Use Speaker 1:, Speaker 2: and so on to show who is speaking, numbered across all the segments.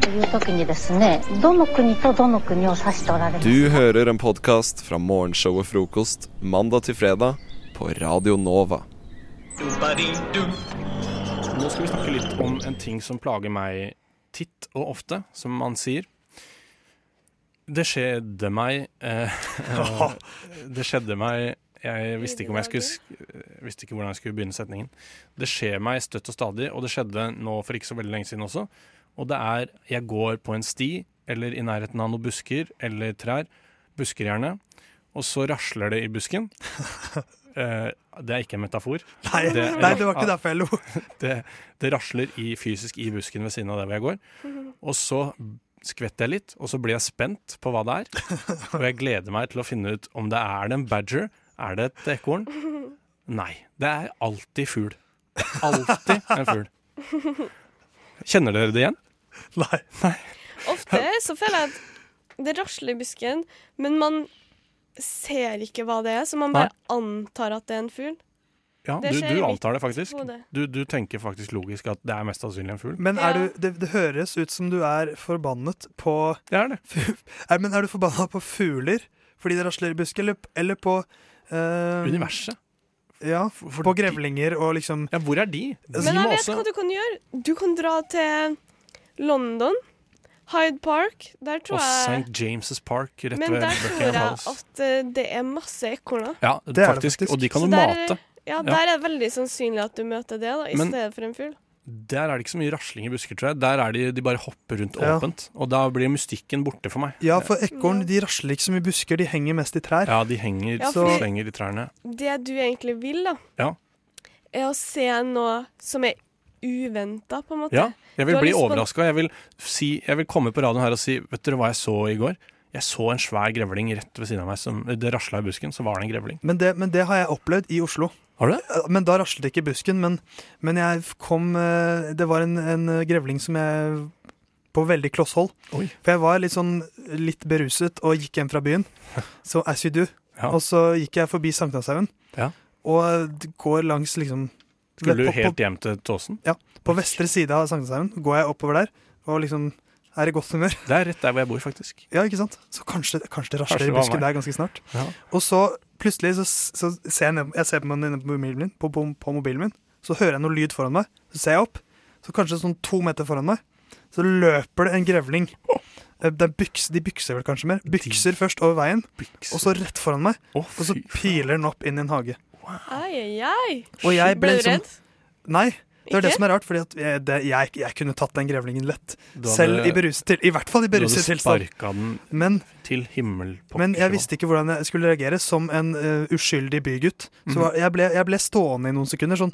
Speaker 1: という時にですねどの国とどの国を指しておられます
Speaker 2: Du hører en podkast fra morgenshowet Frokost mandag til fredag på Radio Nova.
Speaker 3: Nå skal vi snakke litt om en ting som plager meg titt og ofte, som man sier. Det skjedde meg eh, eh, Det skjedde meg Jeg visste ikke, om jeg skulle, sk- visste ikke hvordan jeg skulle begynne setningen. Det skjer meg støtt og stadig, og det skjedde nå for ikke så veldig lenge siden også. Og det er jeg går på en sti, eller i nærheten av noen busker eller trær. Busker gjerne. Og så rasler det i busken. Eh, det er ikke en metafor.
Speaker 4: Nei, det,
Speaker 3: Det-
Speaker 4: nei, det var ikke derfor jeg lo.
Speaker 3: det, det rasler i, fysisk i busken ved siden av der hvor jeg går. Og så skvetter jeg litt, og så blir jeg spent på hva det er. Og jeg gleder meg til å finne ut om det er det en badger, er det et ekorn? Nei, det er alltid fugl. Alltid en fugl. Kjenner dere det igjen?
Speaker 4: Nei.
Speaker 5: Ofte så føler jeg at det rasler i busken, men man ser ikke hva det er, så man bare antar at det er en fugl.
Speaker 3: Ja,
Speaker 5: Det
Speaker 3: du,
Speaker 5: skjer i
Speaker 3: du
Speaker 5: mitt
Speaker 3: antar det faktisk.
Speaker 5: hode.
Speaker 3: Du, du tenker faktisk logisk at det er mest sannsynlig en fugl.
Speaker 4: Men er
Speaker 5: Ja.
Speaker 4: du, det, det høres ut som du er forbannet på
Speaker 3: Det er det.
Speaker 4: er, Men er du forbanna på fugler fordi det rasler i busker, eller, eller på eh,
Speaker 3: Universet.
Speaker 4: Ja,
Speaker 3: For- for
Speaker 4: på
Speaker 3: de-
Speaker 4: grevlinger og liksom
Speaker 3: Ja, hvor er de? De
Speaker 5: Men jeg
Speaker 3: må
Speaker 5: vet
Speaker 3: også
Speaker 5: hva du kan gjøre. Du kan dra til London, Hyde Park. Der tror
Speaker 3: Og
Speaker 5: jeg
Speaker 3: St. James' Park rett
Speaker 5: Men
Speaker 3: ved
Speaker 5: der tror
Speaker 3: Buckingham
Speaker 5: jeg
Speaker 3: Palace.
Speaker 5: at eh, det er masse ekorner.
Speaker 3: Ja,
Speaker 4: Det er det
Speaker 3: faktisk.
Speaker 4: faktisk.
Speaker 3: Og de kan
Speaker 5: Så
Speaker 3: jo
Speaker 5: der-
Speaker 3: mate.
Speaker 5: Ja, der er det veldig sannsynlig at du møter det, da, i
Speaker 3: Men-
Speaker 5: stedet for en fugl.
Speaker 3: Der er det ikke så mye rasling i busker, tror jeg. Der er de, de bare hopper rundt
Speaker 4: Ja.
Speaker 3: åpent. Og da blir mystikken borte for meg.
Speaker 4: Ja, for ekorn de rasler ikke så mye i busker, de henger mest i trær.
Speaker 3: Ja, de henger
Speaker 5: Ja,
Speaker 3: og
Speaker 4: fordi-
Speaker 3: slenger i trærne.
Speaker 5: Det du egentlig vil, da,
Speaker 3: Ja.
Speaker 5: er å se noe som er uventa, på en måte.
Speaker 3: Ja, jeg vil
Speaker 5: Du har
Speaker 3: bli
Speaker 5: lyst på en-
Speaker 3: overraska. Jeg, vil si, jeg vil komme på radioen her og si Vet dere hva jeg så i går? Jeg så en svær grevling rett ved siden av meg. Som, det rasla i busken, så var det en grevling.
Speaker 4: Men det, men det har jeg opplevd i Oslo.
Speaker 3: Har du det?
Speaker 4: Eh, Men da raslet det ikke i busken, men, men jeg kom eh, Det var en, en grevling som jeg På veldig kloss hold.
Speaker 3: Oi.
Speaker 4: For jeg var litt sånn litt beruset og gikk hjem fra byen. Så as you do.
Speaker 3: Ja.
Speaker 4: Og så gikk jeg forbi Sankthanshaugen.
Speaker 3: Ja.
Speaker 4: Og d- går langs liksom
Speaker 3: Skulle
Speaker 4: på,
Speaker 3: du helt hjem til Tåsen?
Speaker 4: På, på vestre side av Sankthanshaugen går jeg oppover der og liksom er i godt humør.
Speaker 3: Det er rett der hvor jeg bor, faktisk.
Speaker 4: Ja, ikke sant? Så kanskje, kanskje det
Speaker 3: Kanskje
Speaker 4: rasler
Speaker 3: det
Speaker 4: i
Speaker 3: var
Speaker 4: busken
Speaker 3: meg.
Speaker 4: der ganske snart.
Speaker 3: Ja.
Speaker 4: Og så plutselig så, s- så ser jeg, ned, jeg ser på, den inne på, mobilen min, på, på, på mobilen min, så hører jeg noe lyd foran meg. Så ser jeg opp, så kanskje sånn to meter foran meg, så løper det en grevling. Eh, Det er byks, de bykser vel kanskje mer. Bykser først over veien, og så rett foran meg.
Speaker 3: Å,
Speaker 4: Og så
Speaker 3: fy faen.
Speaker 4: piler den opp inn i en hage.
Speaker 5: Ai, ai, ai.
Speaker 4: Og jeg
Speaker 5: Ble
Speaker 4: ble
Speaker 5: du
Speaker 4: liksom
Speaker 5: redd?
Speaker 4: Nei. Det er det
Speaker 5: Ikke?
Speaker 4: som er rart, for jeg, jeg, jeg kunne tatt den grevlingen lett.
Speaker 3: Du hadde-
Speaker 4: Selv i beruset til, i hvert fall i
Speaker 3: Du hadde
Speaker 4: beruset tilstand.
Speaker 3: sparka den
Speaker 4: Men
Speaker 3: til himmelpokker.
Speaker 4: Men jeg visste ikke hvordan jeg skulle reagere som en eh, uskyldig bygutt. Så
Speaker 3: Mhm.
Speaker 4: var, jeg, ble, jeg ble stående i noen sekunder sånn,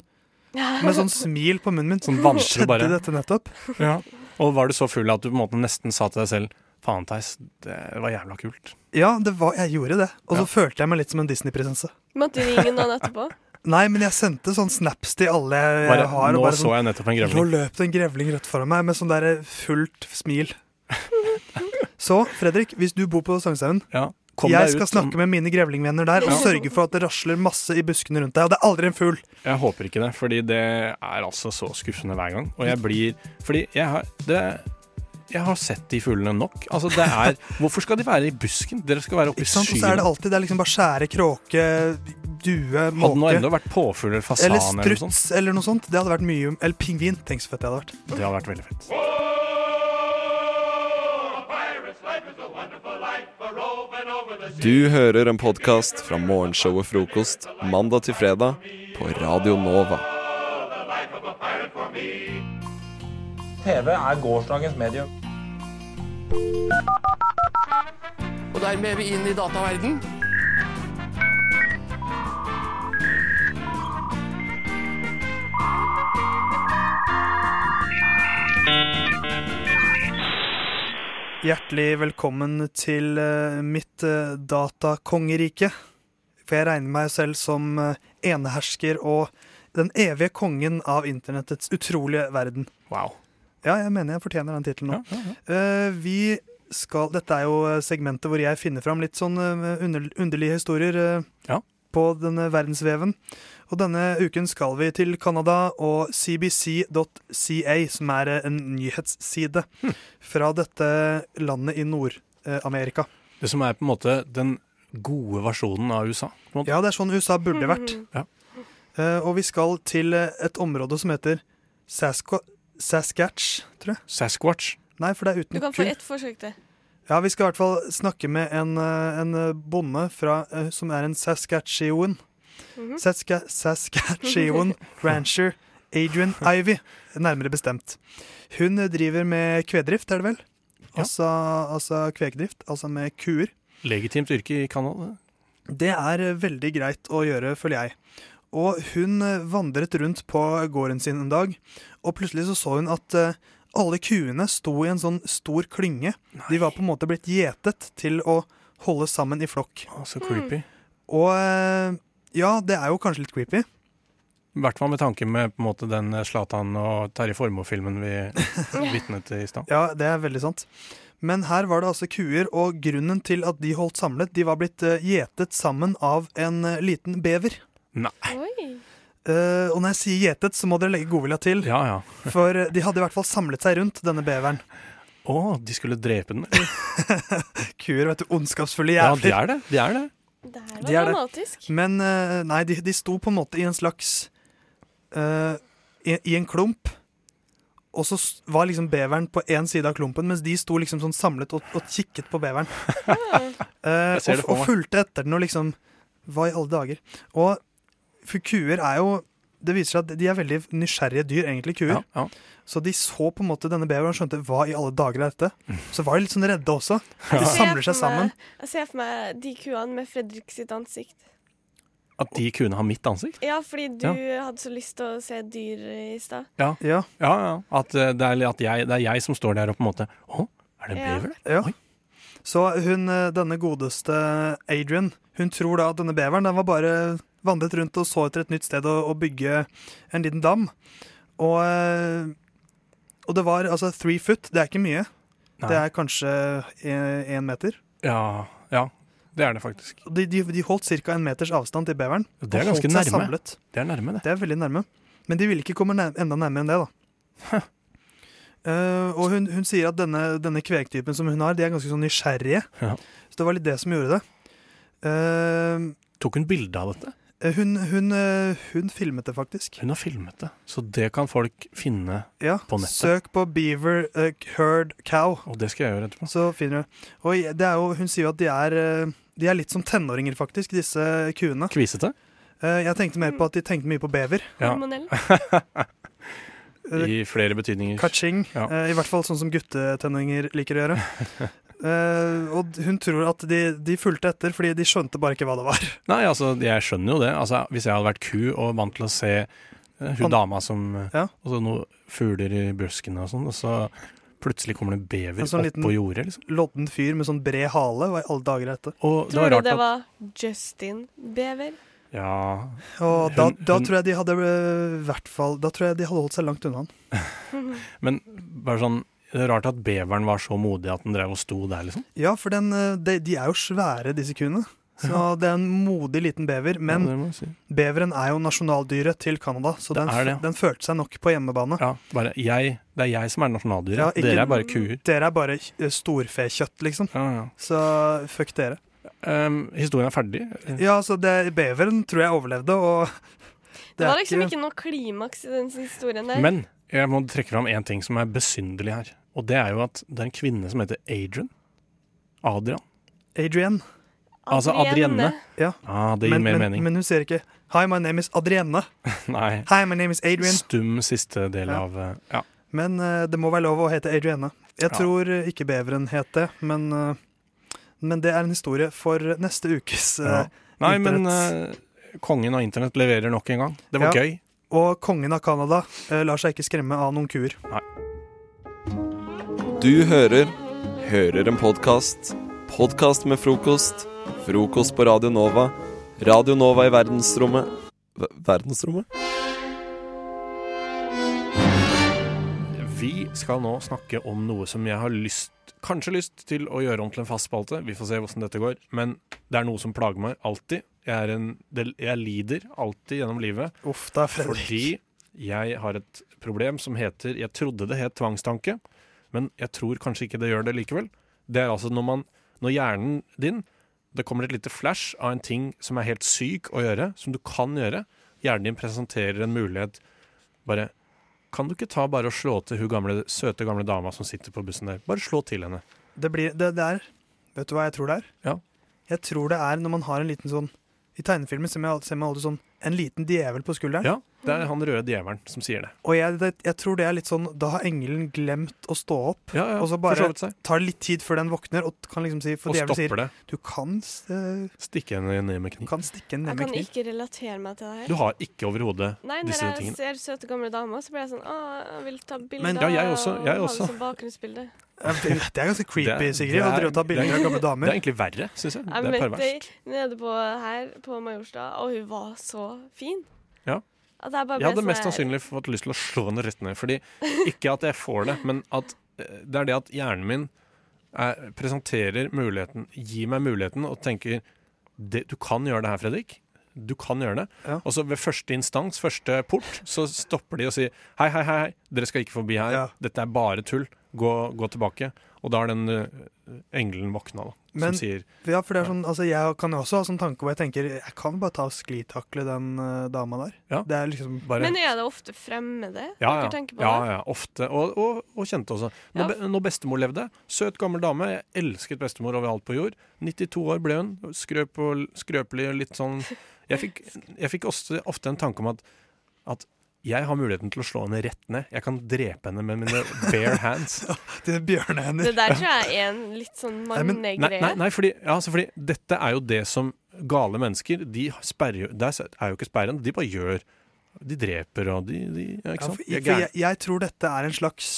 Speaker 4: med sånn smil på munnen min.
Speaker 3: Sånn vantro
Speaker 4: Skjedde
Speaker 3: bare.
Speaker 4: dette nettopp?
Speaker 3: Ja. Og var du så full at du på en måte nesten sa til deg selv Faen, Theis, det var jævla kult.
Speaker 4: Ja, det var, jeg gjorde det. Og så
Speaker 3: Ja.
Speaker 4: følte jeg meg litt som en Disney-prinsesse.
Speaker 5: Måtte du ringe noen etterpå?
Speaker 4: Nei, men jeg sendte sånn snaps til alle jeg
Speaker 3: Bare,
Speaker 4: har.
Speaker 3: nå
Speaker 4: Og bare
Speaker 3: så
Speaker 4: sånn,
Speaker 3: jeg nettopp en
Speaker 4: nå
Speaker 3: grevling.
Speaker 4: løp det en grevling rett foran meg med sånn der eh, fullt smil. så Fredrik, hvis du bor på Sankthanshaugen
Speaker 3: Ja. Kom
Speaker 4: jeg skal
Speaker 3: deg ut,
Speaker 4: snakke med mine grevlingvenner der og sørge for at det rasler masse i buskene rundt deg. Og det er aldri en fugl!
Speaker 3: Jeg håper ikke det, fordi det er altså så skuffende hver gang. Og jeg blir Fordi jeg har det, Jeg har sett de fuglene nok. Altså, det er Hvorfor skal de være i busken? Dere skal være oppe i
Speaker 4: Ikke sant? Og så er
Speaker 3: skyen.
Speaker 4: det alltid det er liksom bare skjære, kråke, due,
Speaker 3: Hadde nå
Speaker 4: måke.
Speaker 3: enda vært påfugl eller fasan
Speaker 4: Eller
Speaker 3: eller, noe sånt.
Speaker 4: struts eller noe sånt. Det hadde vært mye Eller pingvin. Tenk så fett det hadde vært.
Speaker 3: Det hadde vært veldig fett.
Speaker 2: Du hører en podkast fra morgenshowet Frokost mandag til fredag på Radio Nova.
Speaker 6: TV er gårsdagens medium.
Speaker 7: Og dermed er vi inn i dataverden.
Speaker 4: Hjertelig velkommen til eh, mitt eh, datakongerike. For jeg regner meg selv som eh, enehersker og den evige kongen av internettets utrolige verden.
Speaker 3: Wow.
Speaker 4: Ja, jeg mener jeg fortjener den tittelen nå.
Speaker 3: Ja, ja, ja.
Speaker 4: Eh, vi skal, dette er jo segmentet hvor jeg finner fram litt sånn eh, under, underlige historier. eh,
Speaker 3: Ja.
Speaker 4: på denne verdensveven. Og denne uken skal vi til Canada og cbc.ca, som er eh, en nyhetsside fra dette landet i Nord-Amerika.
Speaker 3: Det som er på en måte den gode versjonen av USA. På en måte.
Speaker 4: Ja, det er sånn USA burde vært.
Speaker 5: Mm-hmm.
Speaker 3: Ja.
Speaker 4: Eh, og vi skal til eh, et område som heter Saskwa Saskatch, tror jeg.
Speaker 3: Sasquatch.
Speaker 4: Nei, for det er
Speaker 5: Du
Speaker 4: uten
Speaker 5: kan få
Speaker 4: ku.
Speaker 5: ett forsøk til.
Speaker 4: Ja, vi skal i hvert fall snakke med en, eh, en eh, bonde fra, eh, som er en Saskatchewan.
Speaker 5: Mm. Mhm.
Speaker 4: Saska Saskatchewan rancher Adrian Ivy, nærmere bestemt. Hun eh, driver med kvedrift, er det vel?
Speaker 3: Ja.
Speaker 4: Altså, altså kvegdrift, altså med kuer.
Speaker 3: Legitimt yrke i Canada.
Speaker 4: Det er eh, veldig greit å gjøre, føler jeg. Og hun eh, vandret rundt på gården sin en dag, og plutselig så, så hun at eh, alle kuene sto i en sånn stor klynge. De var på en måte blitt gjetet til å holde sammen i flokk.
Speaker 3: Å, så creepy.
Speaker 4: Og eh, ja, det er jo kanskje litt creepy.
Speaker 3: I hvert fall med tanke med på en måte, den Slatan og Terje Formoe-filmen vi vitnet til i stad.
Speaker 4: Ja, det er veldig sant. Men her var det altså kuer, og grunnen til at de holdt samlet, de var blitt eh, gjetet sammen av en eh, liten bever.
Speaker 3: Nei.
Speaker 5: Oi.
Speaker 4: Eh, og når jeg sier gjetet, så må dere legge godvilja til.
Speaker 3: Ja, ja.
Speaker 4: For eh, de hadde i hvert fall samlet seg rundt denne beveren.
Speaker 3: Å, de skulle drepe den? eller?
Speaker 4: Kuer, vet du, ondskapsfulle
Speaker 3: Ja, de
Speaker 4: jævler.
Speaker 3: er det. De er det.
Speaker 5: Det her
Speaker 4: Det er
Speaker 5: var
Speaker 4: det.
Speaker 5: dramatisk.
Speaker 4: Men eh, nei, de, de sto på en måte i en slags eh, i, I en klump. Og så s- var liksom beveren på én side av klumpen, mens de sto liksom sånn samlet og, og kikket på beveren. Eh,
Speaker 3: Jeg
Speaker 4: og,
Speaker 3: ser det for
Speaker 4: og
Speaker 3: meg.
Speaker 4: fulgte etter den og liksom Hva i alle dager? Og for kuer er jo Det viser seg at de er veldig nysgjerrige dyr, egentlig, kuer.
Speaker 3: Ja, ja.
Speaker 4: Så de så på en måte denne beveren og skjønte hva i alle dager er dette.
Speaker 3: Mm.
Speaker 4: Så var de litt sånn redde også. De
Speaker 5: Jeg ser
Speaker 4: samler seg
Speaker 5: for meg-
Speaker 4: sammen.
Speaker 5: Jeg ser for meg de kuene med Fredrik sitt ansikt.
Speaker 3: At de kunne ha mitt ansikt?
Speaker 5: Ja, fordi du hadde så lyst til å se dyr i stad.
Speaker 4: Ja,
Speaker 3: Ja, ja. At, eh, det, er, at jeg, det er jeg som står der og på en måte Å, er det en
Speaker 5: Ja.
Speaker 3: bever der?
Speaker 4: ja.
Speaker 3: Oi.
Speaker 4: Så hun, eh, denne godeste Adrian, hun tror da at denne beveren den var bare vandret rundt og så etter et nytt sted å, å bygge en liten dam. Og, eh, og det var altså three foot, det er ikke mye.
Speaker 3: Nei.
Speaker 4: Det er kanskje én meter.
Speaker 3: Ja, ja. Det er det faktisk.
Speaker 4: Og De, de, de holdt ca. en meters avstand til beveren.
Speaker 3: Det er
Speaker 4: og holdt
Speaker 3: ganske
Speaker 4: seg
Speaker 3: nærme.
Speaker 4: samlet.
Speaker 3: Det er nærme, det.
Speaker 4: Det er veldig nærme. Men de ville ikke komme nær enda nærmere enn det, da. Eh, og hun, hun sier at denne, denne kvegtypen som hun har, de er ganske sånn nysgjerrige.
Speaker 3: Ja.
Speaker 4: Så det var litt det som gjorde det. Eh,
Speaker 3: Tok hun bilde av dette?
Speaker 4: hun, hun, eh, hun filmet det, faktisk.
Speaker 3: Hun har filmet det. Så det kan folk finne,
Speaker 4: Ja.
Speaker 3: På nettet.
Speaker 4: Søk på Beaver eh, Herd Cow,
Speaker 3: og det skal jeg gjøre etterpå.
Speaker 4: så finner du Og jeg- det er jo, hun sier jo at de er, eh, de er litt som tenåringer, faktisk, disse kuene.
Speaker 3: Kvisete?
Speaker 4: Eh, jeg tenkte mer på at de tenkte mye på bever.
Speaker 3: Ja.
Speaker 5: Hormonell.
Speaker 4: Eh,
Speaker 3: I flere betydninger.
Speaker 4: Kaching.
Speaker 3: Ja.
Speaker 4: Eh, I hvert fall sånn som guttetenninger liker å gjøre. Eh, og d- hun tror at de, de fulgte etter, fordi de skjønte bare ikke hva det var.
Speaker 3: Nei, altså, jeg skjønner jo det. Altså, hvis jeg hadde vært ku og vant til å se eh,
Speaker 4: Han-
Speaker 3: hun dama som eh,
Speaker 4: Ja.
Speaker 3: Og så noen fugler i buskene og sånn, og så plutselig kommer det en bever
Speaker 4: En sånn
Speaker 3: opp
Speaker 4: liten-
Speaker 3: på jordet, liksom.
Speaker 4: Lodden fyr med sånn bred hale. Hva i alle dager er dette?
Speaker 3: Og det
Speaker 5: Tror
Speaker 3: var
Speaker 5: du
Speaker 3: rart
Speaker 5: det
Speaker 3: at
Speaker 5: var Justin Bever?
Speaker 3: Ja,
Speaker 4: Og da,
Speaker 3: Hun-
Speaker 4: da
Speaker 3: hun-
Speaker 4: tror jeg de hadde eh, hvert fall, Da tror jeg de hadde holdt seg langt unna han.
Speaker 3: men bare sånn Det er rart at beveren var så modig at den drev og sto der, liksom.
Speaker 4: Ja, for den, eh, de, de er jo svære, disse kuene. Så det er en modig liten bever. Men
Speaker 3: ja, det må jeg si.
Speaker 4: beveren er jo nasjonaldyret til Canada, så den,
Speaker 3: er det.
Speaker 4: den følte seg nok på hjemmebane.
Speaker 3: ja, bare jeg Det er jeg som er nasjonaldyret.
Speaker 4: Ja, ikke-
Speaker 3: Dere er bare kuer.
Speaker 4: Dere er bare eh, storfekjøtt, liksom.
Speaker 3: Ja, ja.
Speaker 4: Så fuck dere.
Speaker 3: Ehm, historien er ferdig.
Speaker 4: Ja, altså, det, beveren tror jeg overlevde, og
Speaker 5: Det var liksom ikke noe klimaks i den historien der.
Speaker 3: Men jeg må trekke fram én ting som er besynderlig her. Og det er jo at det er en kvinne som heter Adrian. Adrian.
Speaker 4: Adrienne.
Speaker 3: Altså Adrienne.
Speaker 4: Ja.
Speaker 3: Ah, det gir
Speaker 4: Men,
Speaker 3: mer
Speaker 4: men,
Speaker 3: mening.
Speaker 4: men hun sier ikke 'Hi, my name is Adrienne'.
Speaker 3: Nei.
Speaker 4: Hi, my name is Adrian.
Speaker 3: Stum siste del
Speaker 4: Ja.
Speaker 3: av eh, Ja.
Speaker 4: Men eh, det må være lov å hete Adrienne. Jeg
Speaker 3: Ja.
Speaker 4: tror eh, ikke beveren het det, men, eh, men det er en historie for neste ukes. eh,
Speaker 3: ja. Nei, men
Speaker 4: internetts-
Speaker 3: eh, kongen av internett leverer nok en gang. Det var
Speaker 4: Ja.
Speaker 3: gøy.
Speaker 4: Og kongen av Canada eh, lar seg ikke skremme av noen kuer.
Speaker 2: Du hører Hører en podkast. Podkast med frokost. Frokost på Radio Nova. Radio Nova i verdensrommet Ver- Verdensrommet?
Speaker 3: Vi skal nå snakke om noe som jeg har lyst Kanskje lyst til å gjøre om til en fast spalte. Vi får se hvordan dette går. Men det er noe som plager meg alltid, Jeg, er en, del- jeg lider alltid gjennom livet
Speaker 4: Uff da, Fredrik.
Speaker 3: fordi jeg har et problem som heter Jeg trodde det het tvangstanke, men jeg tror kanskje ikke det gjør det likevel. Det er altså når, man, når hjernen din Det kommer et lite flash av en ting som er helt syk å gjøre, som du kan gjøre. Hjernen din presenterer en mulighet. Bare Kan du ikke ta bare og slå til hun gamle, søte gamle dama som sitter på bussen der? Bare slå til henne.
Speaker 4: Det, blir, det, det er Vet du hva jeg tror det er?
Speaker 3: Ja.
Speaker 4: Jeg tror det er når man har en liten sånn I tegnefilmer ser man, ser man alltid sånn en liten djevel på skulderen.
Speaker 3: Ja, det er han røde djevelen som sier det.
Speaker 4: Og jeg, det, jeg tror det er litt sånn Da har engelen glemt å stå opp.
Speaker 3: Ja, ja,
Speaker 4: Og så bare-
Speaker 3: forsovet seg.
Speaker 4: Tar litt tid før den våkner og kan liksom si For
Speaker 3: Og
Speaker 4: djevelen sier
Speaker 3: stopper det.
Speaker 4: du kan, s- eh,
Speaker 3: Stikke henne ned med
Speaker 4: du
Speaker 3: kniv.
Speaker 4: kan stikke en
Speaker 5: Jeg
Speaker 4: neve
Speaker 5: kan
Speaker 4: kniv.
Speaker 5: ikke relatere meg til det
Speaker 3: Du
Speaker 5: her.
Speaker 3: har ikke overhodet
Speaker 5: Nei, Når
Speaker 3: disse
Speaker 5: jeg
Speaker 3: tingene.
Speaker 5: ser søte, gamle damer, så blir jeg sånn Å, jeg vil ta bilde
Speaker 4: Men-
Speaker 3: Ja, jeg også,
Speaker 5: og
Speaker 3: jeg
Speaker 5: ha
Speaker 3: også.
Speaker 5: det som bakgrunnsbilde.
Speaker 4: Ja, Det det er ganske
Speaker 3: Det
Speaker 4: creepy,
Speaker 3: er-
Speaker 4: Sigrid.
Speaker 3: det
Speaker 4: Å
Speaker 3: er-
Speaker 4: drive og ta bilder
Speaker 3: det er-
Speaker 4: av gamle
Speaker 3: Det er
Speaker 4: damer.
Speaker 3: egentlig verre, syns
Speaker 5: Jeg
Speaker 3: jeg. Det er
Speaker 5: møtte ei
Speaker 3: perverst.
Speaker 5: nede på, her på Majorstad, og hun var så fin.
Speaker 3: Ja.
Speaker 5: At jeg bare
Speaker 3: Jeg
Speaker 5: ble
Speaker 3: hadde
Speaker 5: sånn
Speaker 3: mest
Speaker 5: her-
Speaker 3: sannsynlig fått lyst til å slå henne rett ned. Fordi Ikke at jeg får det, men at eh, det er det at hjernen min er, presenterer muligheten, gir meg muligheten, og tenker det, Du kan gjøre det her, Fredrik. Du kan gjøre det.
Speaker 4: Ja.
Speaker 3: Og så ved første instans, første port, så stopper de og sier Hei, hei, hei, hei, dere skal ikke forbi her.
Speaker 4: Ja.
Speaker 3: Dette er bare tull. Gå, gå tilbake. Og da er den eh, engelen våkna, da. Som
Speaker 4: Men-
Speaker 3: sier
Speaker 4: Ja, for det er sånn, altså, jeg kan jo også ha sånn tanke hvor jeg tenker jeg kan bare ta og sklitakle den eh, dama der.
Speaker 3: Ja.
Speaker 4: Det er liksom
Speaker 3: bare
Speaker 5: Men er det ofte fremmede
Speaker 3: Ja,
Speaker 5: dere
Speaker 3: ja.
Speaker 5: tenker på?
Speaker 3: ja,
Speaker 5: det?
Speaker 3: ja. Ofte. Og, og, og kjente også. Når,
Speaker 5: Ja.
Speaker 3: be, når bestemor levde, søt gammel dame, jeg elsket bestemor overalt på jord. 92 år ble hun, skrøp og, skrøpelig og litt sånn Jeg fikk, jeg fikk også, ofte en tanke om at, at jeg har muligheten til å slå henne rett ned. Jeg kan drepe henne med mine bare hands.
Speaker 4: Det er bjørnehender.
Speaker 5: Det der tror jeg er en litt sånn
Speaker 4: Nei, men-
Speaker 3: Nei, nei,
Speaker 5: mannegreie.
Speaker 3: nei fordi, ja, altså, fordi dette er jo det som gale mennesker De sperrer jo Der er jo ikke sperren. De bare gjør. De dreper og de, de ja,
Speaker 4: Ja,
Speaker 3: Ikke sant?
Speaker 4: for,
Speaker 3: De er
Speaker 4: for jeg,
Speaker 3: gærne.
Speaker 4: jeg tror dette er en slags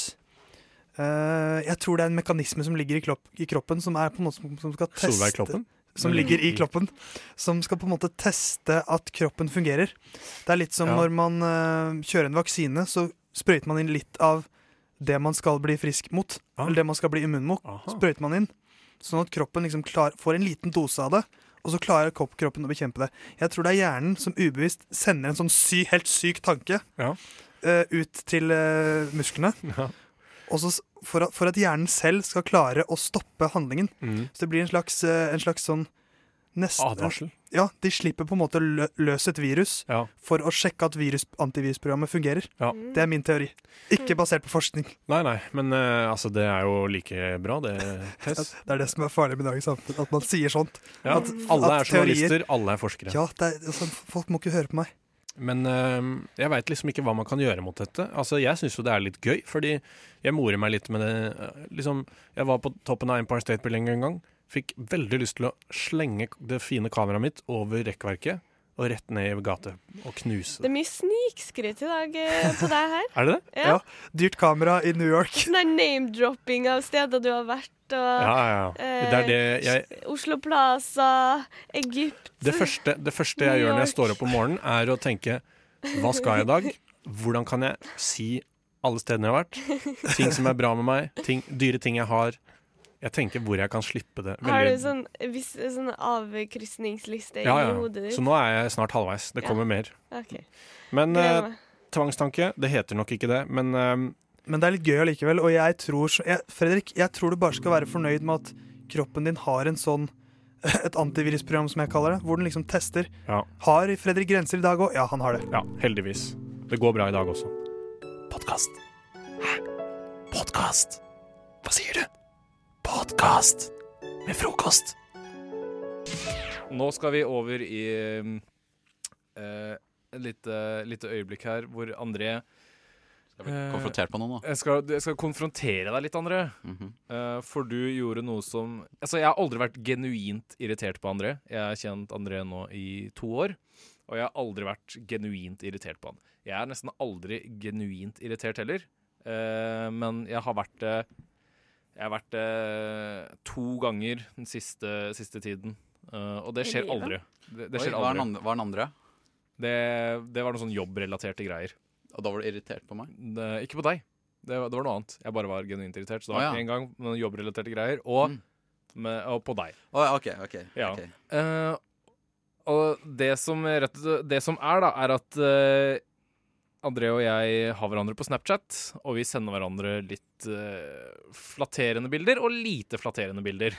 Speaker 4: eh, Jeg tror det er en mekanisme som ligger i, klopp, i kroppen, som er på en måte som, som skal teste
Speaker 3: Solveig Kloppen?
Speaker 4: Som ligger i kroppen. Som skal på en måte teste at kroppen fungerer. Det er litt som
Speaker 3: Ja.
Speaker 4: når man eh, kjører en vaksine, så sprøyter man inn litt av det man skal bli frisk mot.
Speaker 3: Ah.
Speaker 4: Eller det man skal bli immun mot.
Speaker 3: Aha.
Speaker 4: Sprøyter man inn, sånn at kroppen liksom klar, får en liten dose av det. Og så klarer kropp- kroppen å bekjempe det. Jeg tror det er hjernen som ubevisst sender en sånn sy, helt syk tanke
Speaker 3: Ja.
Speaker 4: eh, ut til eh, musklene.
Speaker 3: Ja.
Speaker 4: Og så s- for, at- for at hjernen selv skal klare å stoppe handlingen.
Speaker 3: Mm.
Speaker 4: Så det blir en slags, eh, en slags sånn nesten,
Speaker 3: Advarsel.
Speaker 4: Ja, De slipper på en måte lø- løs et virus
Speaker 3: Ja.
Speaker 4: for å sjekke at virus, antivirusprogrammet fungerer.
Speaker 3: Ja.
Speaker 4: Det er min teori. Ikke basert på forskning.
Speaker 3: Nei, nei, men eh, altså, det er jo like bra, det, Tess.
Speaker 4: Det er det som er farlig med dagens samfunn, at man sier sånt.
Speaker 3: Ja,
Speaker 4: At-
Speaker 3: alle
Speaker 4: at
Speaker 3: er journalister, alle er forskere.
Speaker 4: Ja, det er, altså, Folk må ikke høre på meg.
Speaker 3: Men eh, jeg veit liksom ikke hva man kan gjøre mot dette. Altså, Jeg syns jo det er litt gøy, fordi jeg morer meg litt med det. eh, Liksom, Jeg var på toppen av Empire State Building en gang. Fikk veldig lyst til å slenge det fine kameraet mitt over rekkverket og rett ned i gata og knuse
Speaker 5: Det
Speaker 3: det.
Speaker 5: er mye snikskryt i dag eh, på deg her.
Speaker 3: Er det det?
Speaker 5: Ja.
Speaker 4: Ja. Dyrt kamera i New York.
Speaker 5: Sånn der name-dropping av steder du har vært, og eh,
Speaker 3: Ja, ja, ja. Det er det jeg
Speaker 5: Oslo Plaza, Egypt
Speaker 3: Det første, det første
Speaker 5: New
Speaker 3: jeg gjør når jeg
Speaker 5: York.
Speaker 3: står opp om morgenen, er å tenke Hva skal jeg i dag? Hvordan kan jeg si alle stedene jeg har vært? Ting som er bra med meg, ting, dyre ting jeg har. Jeg tenker hvor jeg kan slippe det.
Speaker 5: Har du
Speaker 3: Veldig-
Speaker 5: sånn, viss- sånn avkrysningsliste
Speaker 3: ja,
Speaker 5: i
Speaker 3: ja.
Speaker 5: hodet ditt?
Speaker 3: Så nå er jeg snart halvveis. Det
Speaker 5: Ja.
Speaker 3: kommer mer.
Speaker 5: Ok,
Speaker 3: Men eh,
Speaker 5: gleder meg.
Speaker 3: tvangstanke, det heter nok ikke det. Men eh,
Speaker 4: Men det er litt gøy allikevel. Og jeg tror så- jeg, Fredrik, jeg tror du bare skal være fornøyd med at kroppen din har en sånn et antivirusprogram, som jeg kaller det, hvor den liksom tester.
Speaker 3: Ja.
Speaker 4: Har Fredrik grenser i dag òg? Ja, han har det.
Speaker 3: ja, heldigvis. Det går bra i dag også.
Speaker 2: Podkast. Hæ? Podkast? Hva sier du? Podkast med frokost.
Speaker 8: Nå skal vi over i um, eh, et lite, lite øyeblikk her hvor André
Speaker 7: Skal bli konfrontert på noen, da.
Speaker 8: jeg skal, jeg skal konfrontere deg litt, André.
Speaker 7: Mhm.
Speaker 8: Eh, for du gjorde noe som Altså, jeg har aldri vært genuint irritert på André. Jeg har kjent André nå i to år, og jeg har aldri vært genuint irritert på han. Jeg er nesten aldri genuint irritert heller, eh, men jeg har vært det Jeg har vært det to ganger den siste, siste tiden, eh, og det
Speaker 5: I
Speaker 8: skjer
Speaker 5: livet?
Speaker 8: aldri. Det, det
Speaker 7: Oi,
Speaker 8: skjer
Speaker 7: hva er den
Speaker 8: aldri.
Speaker 7: andre? Hva er den andre?
Speaker 8: Det, det var noen sånn jobbrelaterte greier.
Speaker 7: Og da var du irritert på meg?
Speaker 8: Det, ikke på deg. Det, var- det var noe annet. Jeg bare var genuint irritert. Så det var
Speaker 7: Å, ja.
Speaker 8: en gang med noen Mm. jobbrelaterte greier, og,
Speaker 7: Mm.
Speaker 8: med, og på deg.
Speaker 7: Å, ja, OK. ok,
Speaker 8: Ja.
Speaker 7: ok.
Speaker 8: Eh, Og det som, rett, det som er, da, er at eh, André og jeg har hverandre på Snapchat, og vi sender hverandre litt eh, flatterende bilder og lite flatterende bilder.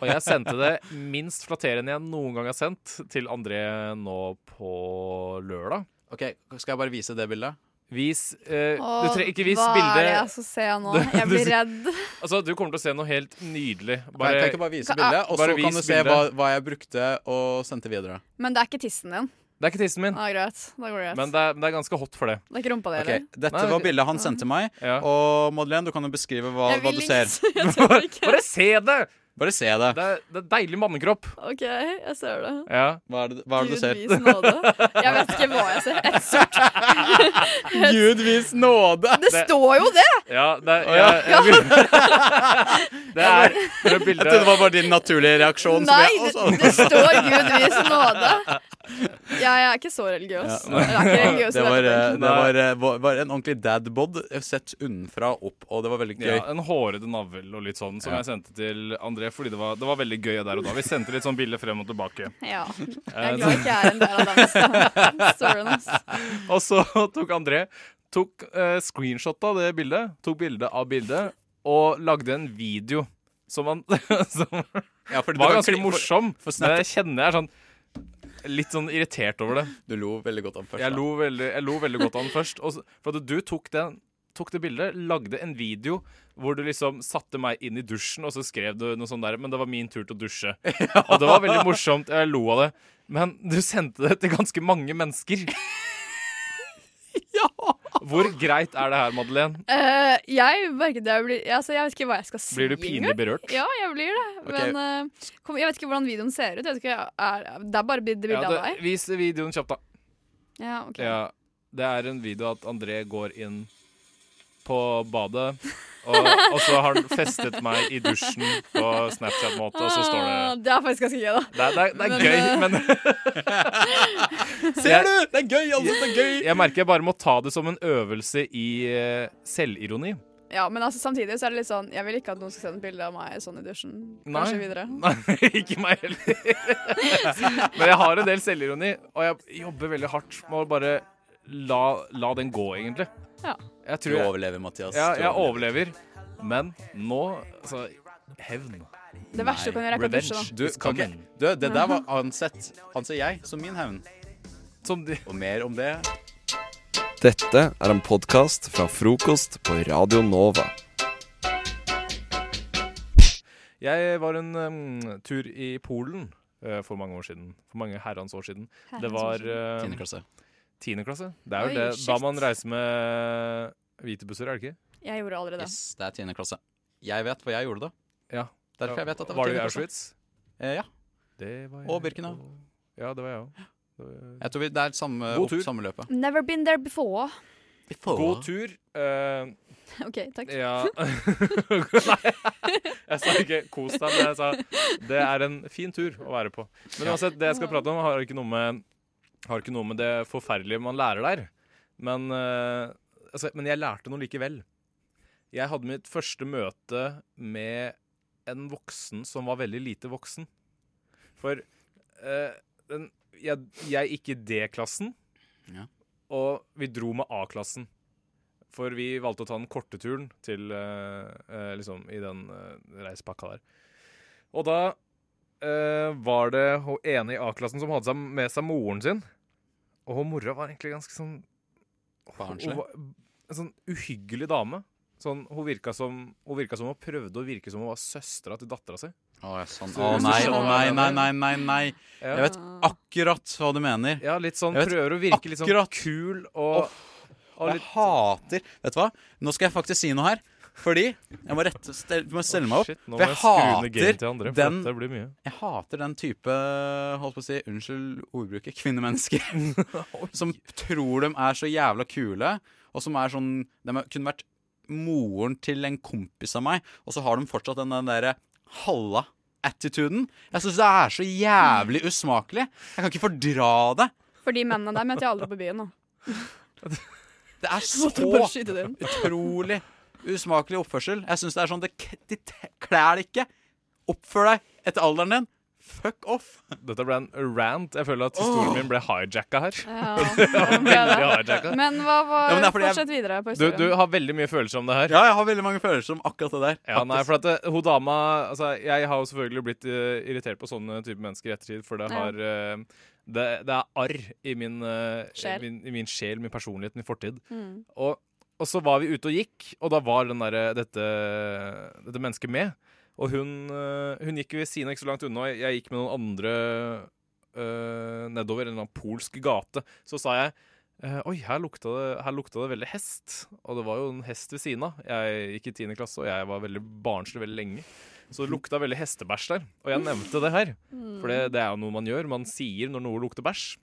Speaker 8: Og jeg sendte det minst flatterende jeg noen gang har sendt, til André nå på lørdag.
Speaker 7: Ok, Skal jeg bare vise det bildet?
Speaker 8: Vis eh, Du
Speaker 9: Åh,
Speaker 8: trenger ikke vis
Speaker 9: Hva er det jeg
Speaker 8: bildet.
Speaker 9: skal se nå?
Speaker 8: Du-
Speaker 9: Jeg
Speaker 8: du
Speaker 9: blir
Speaker 8: sier-
Speaker 9: redd.
Speaker 8: Altså, du kommer til å se noe helt nydelig.
Speaker 7: Bare, kan
Speaker 8: Bare,
Speaker 7: jeg ikke bare vise
Speaker 9: Hva-
Speaker 7: bildet, og
Speaker 8: Bare
Speaker 7: så kan
Speaker 8: vis
Speaker 7: du se hva,
Speaker 8: bildet.
Speaker 7: hva jeg brukte og sendte videre?
Speaker 9: Men det er ikke tissen din.
Speaker 8: det er ikke tissen min,
Speaker 9: Ah, greit. Da går det greit.
Speaker 8: men det er, det er ganske hot for det.
Speaker 9: det er ikke rumpa di
Speaker 7: Ok,
Speaker 9: heller.
Speaker 7: Dette
Speaker 8: Nei,
Speaker 7: var
Speaker 8: ok.
Speaker 7: bildet han sendte meg.
Speaker 8: Ja.
Speaker 7: Og Madeleine, du kan jo beskrive hva,
Speaker 9: Jeg
Speaker 7: hva
Speaker 9: vil
Speaker 7: du
Speaker 9: ikke
Speaker 7: ser.
Speaker 9: se- jeg tør ikke.
Speaker 8: Bare se det!
Speaker 7: Bare se det.
Speaker 8: Det er, det er deilig mannekropp.
Speaker 9: OK, jeg ser det.
Speaker 8: Ja.
Speaker 7: Hva er det, hva er det du ser?
Speaker 9: vis nåde. Jeg vet ikke hva jeg ser. Et sort.
Speaker 7: Gud vis nåde!
Speaker 9: Det står jo det!
Speaker 8: Ja, det er,
Speaker 7: Å, ja.
Speaker 8: jeg- jeg vil- det er det er
Speaker 7: Jeg trodde det
Speaker 8: bildet
Speaker 7: var bare din naturlige reaksjon. som
Speaker 9: Nei,
Speaker 7: jeg-
Speaker 3: altså.
Speaker 9: det,
Speaker 7: Å, sånn.
Speaker 9: det står Gud vis nåde. Ja, jeg er ikke så religiøs.
Speaker 7: Ja, nei.
Speaker 9: Jeg er ikke religiøs
Speaker 7: Det var, eh,
Speaker 9: jeg
Speaker 7: det var, eh, var- var en ordentlig dadbod sett unnenfra og opp, og det var veldig gøy.
Speaker 8: ja, En hårete navl og litt sånn, som
Speaker 7: Ja.
Speaker 8: jeg sendte til André. Fordi det var, det var veldig gøy der og da. Vi sendte litt sånn bilder frem og tilbake. Eh,
Speaker 9: Ja. Jeg er glad ikke jeg er en del av den stand- storyen. ass.
Speaker 8: Og så tok André Tok eh, screenshot av det bildet, tok bilde av bildet, og lagde en video som, han, som
Speaker 7: Ja, fordi det
Speaker 8: var
Speaker 7: kli-
Speaker 8: ganske
Speaker 7: for-
Speaker 8: morsom.
Speaker 7: for Snapchat-
Speaker 8: Men jeg kjenner jeg er sånn litt sånn irritert over det.
Speaker 7: Du lo veldig godt av den først.
Speaker 8: Jeg
Speaker 7: da.
Speaker 8: lo veldig, jeg lo veldig godt av den først. Og, så- for at du tok, den, tok det bildet, lagde en video hvor du liksom satte meg inn i dusjen, og så skrev du noe sånt der, men det var min tur til å dusje. Og det var veldig morsomt. Jeg lo av det. Men du sendte det til ganske mange mennesker. Hvor greit er det her, Madeleine?
Speaker 9: Eh, jeg merker det jeg blir altså, Jeg vet ikke hva jeg skal si.
Speaker 8: Blir du pinlig
Speaker 9: engang.
Speaker 8: berørt?
Speaker 9: Ja, jeg blir det.
Speaker 7: Ok.
Speaker 9: Men eh, kom, jeg vet ikke hvordan videoen ser ut. Jeg vet ikke, er, det er bare bilde
Speaker 8: Ja,
Speaker 9: av
Speaker 8: det,
Speaker 9: deg?
Speaker 8: vis videoen kjapt, da.
Speaker 9: Ja, ok.
Speaker 8: Ja, det er en video at André går inn på badet, og, og så har han festet meg i dusjen på Snapchat-måte, og så står
Speaker 9: Ah,
Speaker 8: det
Speaker 9: Det er faktisk ganske gøy, da.
Speaker 8: Det er, det er, det
Speaker 9: Men,
Speaker 8: er gøy,
Speaker 9: eh,
Speaker 8: men
Speaker 7: Ser du? Det er gøy! Alle synes det er gøy!
Speaker 8: jeg merker jeg bare må ta det som en øvelse i eh, selvironi.
Speaker 9: Ja, Men altså, samtidig så er det litt sånn Jeg vil ikke at noen skal sende bilde av meg sånn i dusjen.
Speaker 8: Nei.
Speaker 9: Kanskje videre.
Speaker 8: Nei, ikke meg heller. Men jeg har en del selvironi, og jeg jobber veldig hardt med å bare la, la den gå, egentlig.
Speaker 9: Ja.
Speaker 8: Jeg
Speaker 7: Du
Speaker 8: tror jeg,
Speaker 7: overlever, Mathias.
Speaker 8: ja,
Speaker 7: Du
Speaker 8: jeg overlever, men nå altså, Hevn.
Speaker 9: Det verste du kan gjøre, er ikke å dusje, da. Mhm.
Speaker 7: Du,
Speaker 8: It's
Speaker 7: kan
Speaker 8: coming.
Speaker 7: ikke, du, det der var ansett, anser jeg, som min hevn.
Speaker 8: Som de
Speaker 7: Og mer om det
Speaker 2: Dette er en podkast fra frokost på Radio Nova.
Speaker 8: Jeg var en um, tur i Polen eh, for mange år siden. For mange herrens år siden. Det var eh,
Speaker 7: Tiende klasse.
Speaker 8: tiende klasse. Det
Speaker 9: Oi,
Speaker 8: er jo det. Da
Speaker 9: shit.
Speaker 8: man reiser med hvite busser, er det ikke?
Speaker 9: Jeg gjorde aldri det.
Speaker 7: Yes, det er tiende klasse. Jeg vet, for jeg gjorde det.
Speaker 8: Ja.
Speaker 7: Derfor jeg vet at det var
Speaker 8: Var du i
Speaker 7: tiende klasse.
Speaker 8: Auschwitz?
Speaker 7: Eh, ja.
Speaker 8: Det var jeg
Speaker 7: Og Birkenau.
Speaker 8: på. Ja, det var jeg òg.
Speaker 7: Jeg tror vi, det er samme,
Speaker 8: God
Speaker 7: opp,
Speaker 8: tur.
Speaker 7: samme løpet.
Speaker 9: Never been there before.
Speaker 8: God tur. eh,
Speaker 9: OK, takk.
Speaker 8: ja Nei, jeg sa ikke 'kos deg', men jeg sa det er en fin tur å være på. Men uansett, det jeg skal prate om, har ikke noe med, har ikke noe med det forferdelige man lærer der. Men, eh, altså, men jeg lærte noe likevel. Jeg hadde mitt første møte med en voksen som var veldig lite voksen. For eh, den, jeg, jeg gikk i D-klassen,
Speaker 7: Ja.
Speaker 8: og vi dro med A-klassen. For vi valgte å ta den korte turen til, eh, eh, liksom, i den eh, reisepakka der. Og da eh, var det hun ene i A-klassen som hadde seg med seg moren sin. Og hun mora var egentlig ganske sånn
Speaker 7: Barnslig.
Speaker 8: Hun var En sånn uhyggelig dame. Sånn, hun, virka som, hun virka som hun prøvde å virke som hun var søstera til dattera si.
Speaker 7: Å ja, sånn.
Speaker 8: Så-
Speaker 7: Å nei, å nei, nei, nei, nei, nei.
Speaker 8: Ja.
Speaker 7: Jeg vet akkurat hva du mener.
Speaker 8: Ja, litt sånn
Speaker 7: Jeg vet
Speaker 8: prøver å virke litt sånn
Speaker 7: akkurat.
Speaker 8: kul og, og
Speaker 7: Jeg
Speaker 8: litt
Speaker 7: hater Vet du hva? Nå skal jeg faktisk si noe her. Fordi Jeg må rette stel, må stelle meg opp.
Speaker 8: Shit, nå
Speaker 7: For
Speaker 8: må
Speaker 7: jeg
Speaker 8: jeg skru ned gamet til
Speaker 7: hater
Speaker 8: andre, for
Speaker 7: den
Speaker 8: dette blir mye.
Speaker 7: Jeg hater den type Holdt på å si Unnskyld ordbruket. Kvinnemennesker. som tror de er så jævla kule, og som er sånn De er- kunne vært moren til en kompis av meg, og så har de fortsatt den den derre halla. Attituden. Jeg syns det er så jævlig
Speaker 9: Mm.
Speaker 7: usmakelig. Jeg kan ikke fordra det.
Speaker 9: For de mennene der møter jeg aldri på byen. Da.
Speaker 7: Det er
Speaker 9: Så måtte jeg bare
Speaker 7: så
Speaker 9: skyte det inn.
Speaker 7: Utrolig usmakelig oppførsel. Jeg synes det er sånn, det, k- de t- klær det ikke. Oppfør deg etter alderen din. Fuck off!
Speaker 8: Dette ble en rant. Jeg føler at historien min ble hijacka her.
Speaker 9: Ja,
Speaker 8: Den ble hijacka.
Speaker 9: Men hva var
Speaker 7: Ja, men det er fordi jeg-
Speaker 9: Fortsett videre på
Speaker 8: Du, du
Speaker 9: historien.
Speaker 8: har veldig mye følelser om det her.
Speaker 7: Ja, jeg har veldig mange følelser om akkurat det der.
Speaker 8: Ja, nei, for at det, hun dama altså, Jeg har jo selvfølgelig blitt eh, irritert på sånne type mennesker i ettertid, for det
Speaker 9: Ja.
Speaker 8: har eh, det, det er arr i min, eh,
Speaker 9: Sjel.
Speaker 8: min, i min sjel, min personlighet, min fortid.
Speaker 9: Mm.
Speaker 8: Og, og så var vi ute og gikk, og da var den der, dette, dette mennesket med. Og hun, eh, hun gikk jo ved siden av ikke så langt unna. og Jeg, jeg gikk med noen andre eh, nedover en eller annen polsk gate. Så sa jeg eh, Oi, her lukta, det, her lukta det veldig hest. Og det var jo en hest ved siden av. Jeg gikk i 10. klasse, og jeg var veldig barnslig veldig lenge. Så det lukta veldig hestebæsj der. Og jeg nevnte det her. For det, det er jo noe man gjør. Man sier når noe lukter bæsj.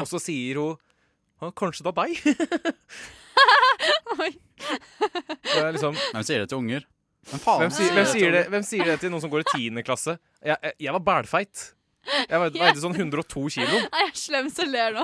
Speaker 8: Og så sier hun «Å, Kanskje det er deg?
Speaker 9: Oi.
Speaker 8: Og jeg liksom,
Speaker 7: Nei, hun sier det til unger. Men faen, altså.
Speaker 8: hvem, sier, hvem, sier det, hvem sier det til noen som går i 10. klasse? Jeg, jeg, jeg var bælfeit. Jeg veide veide sånn 102 kilo.
Speaker 9: Nei, jeg er slem som ler nå.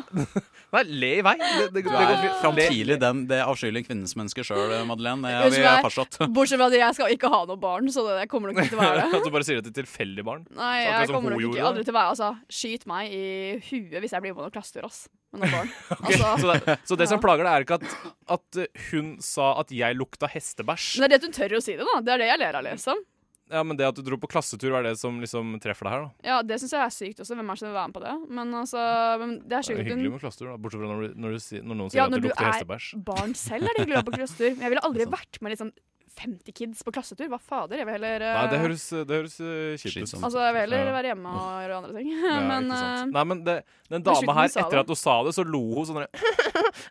Speaker 8: Nei, le i vei. Det, det, det
Speaker 7: Du
Speaker 8: går
Speaker 7: er
Speaker 8: fint. Le-
Speaker 7: framtidig den, det avskyelige kvinnens menneske sjøl, Madeleine. Det
Speaker 9: Jeg
Speaker 7: har vi
Speaker 9: skjønner.
Speaker 7: fastslått.
Speaker 9: Bortsett fra at jeg skal ikke ha noe barn, så det der kommer nok ikke til å være det.
Speaker 8: At du bare sier det til tilfeldig barn.
Speaker 9: Nei,
Speaker 8: Så akkurat
Speaker 9: jeg
Speaker 8: som
Speaker 9: kommer
Speaker 8: hun
Speaker 9: nok ikke
Speaker 8: gjorde, da.
Speaker 9: aldri til å være Altså, skyt meg i huet hvis jeg blir med på noen klassetur, ass. Med noen barn.
Speaker 8: Ok,
Speaker 9: Altså,
Speaker 8: Så det, så det som
Speaker 9: Ja.
Speaker 8: plager deg, er ikke at, at eh, hun sa at jeg lukta hestebæsj.
Speaker 9: men det er det at hun tør å si det, da. Det er det jeg ler av, liksom.
Speaker 8: Ja, Men det at du dro på klassetur, var det som liksom treffer deg her? da
Speaker 9: Ja, det syns jeg er sykt også. Hvem er det som vil være med på det? Men altså, men det er
Speaker 8: Det er
Speaker 9: sjukt at
Speaker 8: hyggelig
Speaker 9: hun
Speaker 8: med klassetur, da bortsett fra når, du, når, du, sier- når noen sier
Speaker 9: Ja,
Speaker 8: at
Speaker 9: når
Speaker 8: det
Speaker 9: du
Speaker 8: lukter
Speaker 9: er
Speaker 8: hestebæsj.
Speaker 9: barn selv, er det hyggelig å være på klassetur. Men jeg ville aldri
Speaker 7: Det er sant.
Speaker 9: vært med liksom 50 kids på klassetur. Hva fader? Jeg vil heller eh,
Speaker 8: Nei, det høres, det høres eh, kjipt ut.
Speaker 7: Slitsomt.
Speaker 9: Altså, jeg vil heller
Speaker 8: Ja.
Speaker 9: være hjemme og gjøre andre ting.
Speaker 8: Ja,
Speaker 9: men
Speaker 8: ikke sant.
Speaker 9: eh,
Speaker 8: Nei, men det, den
Speaker 9: men slutten
Speaker 8: dama her,
Speaker 9: sa det.
Speaker 8: etter at hun sa det, så lo hun sånn der,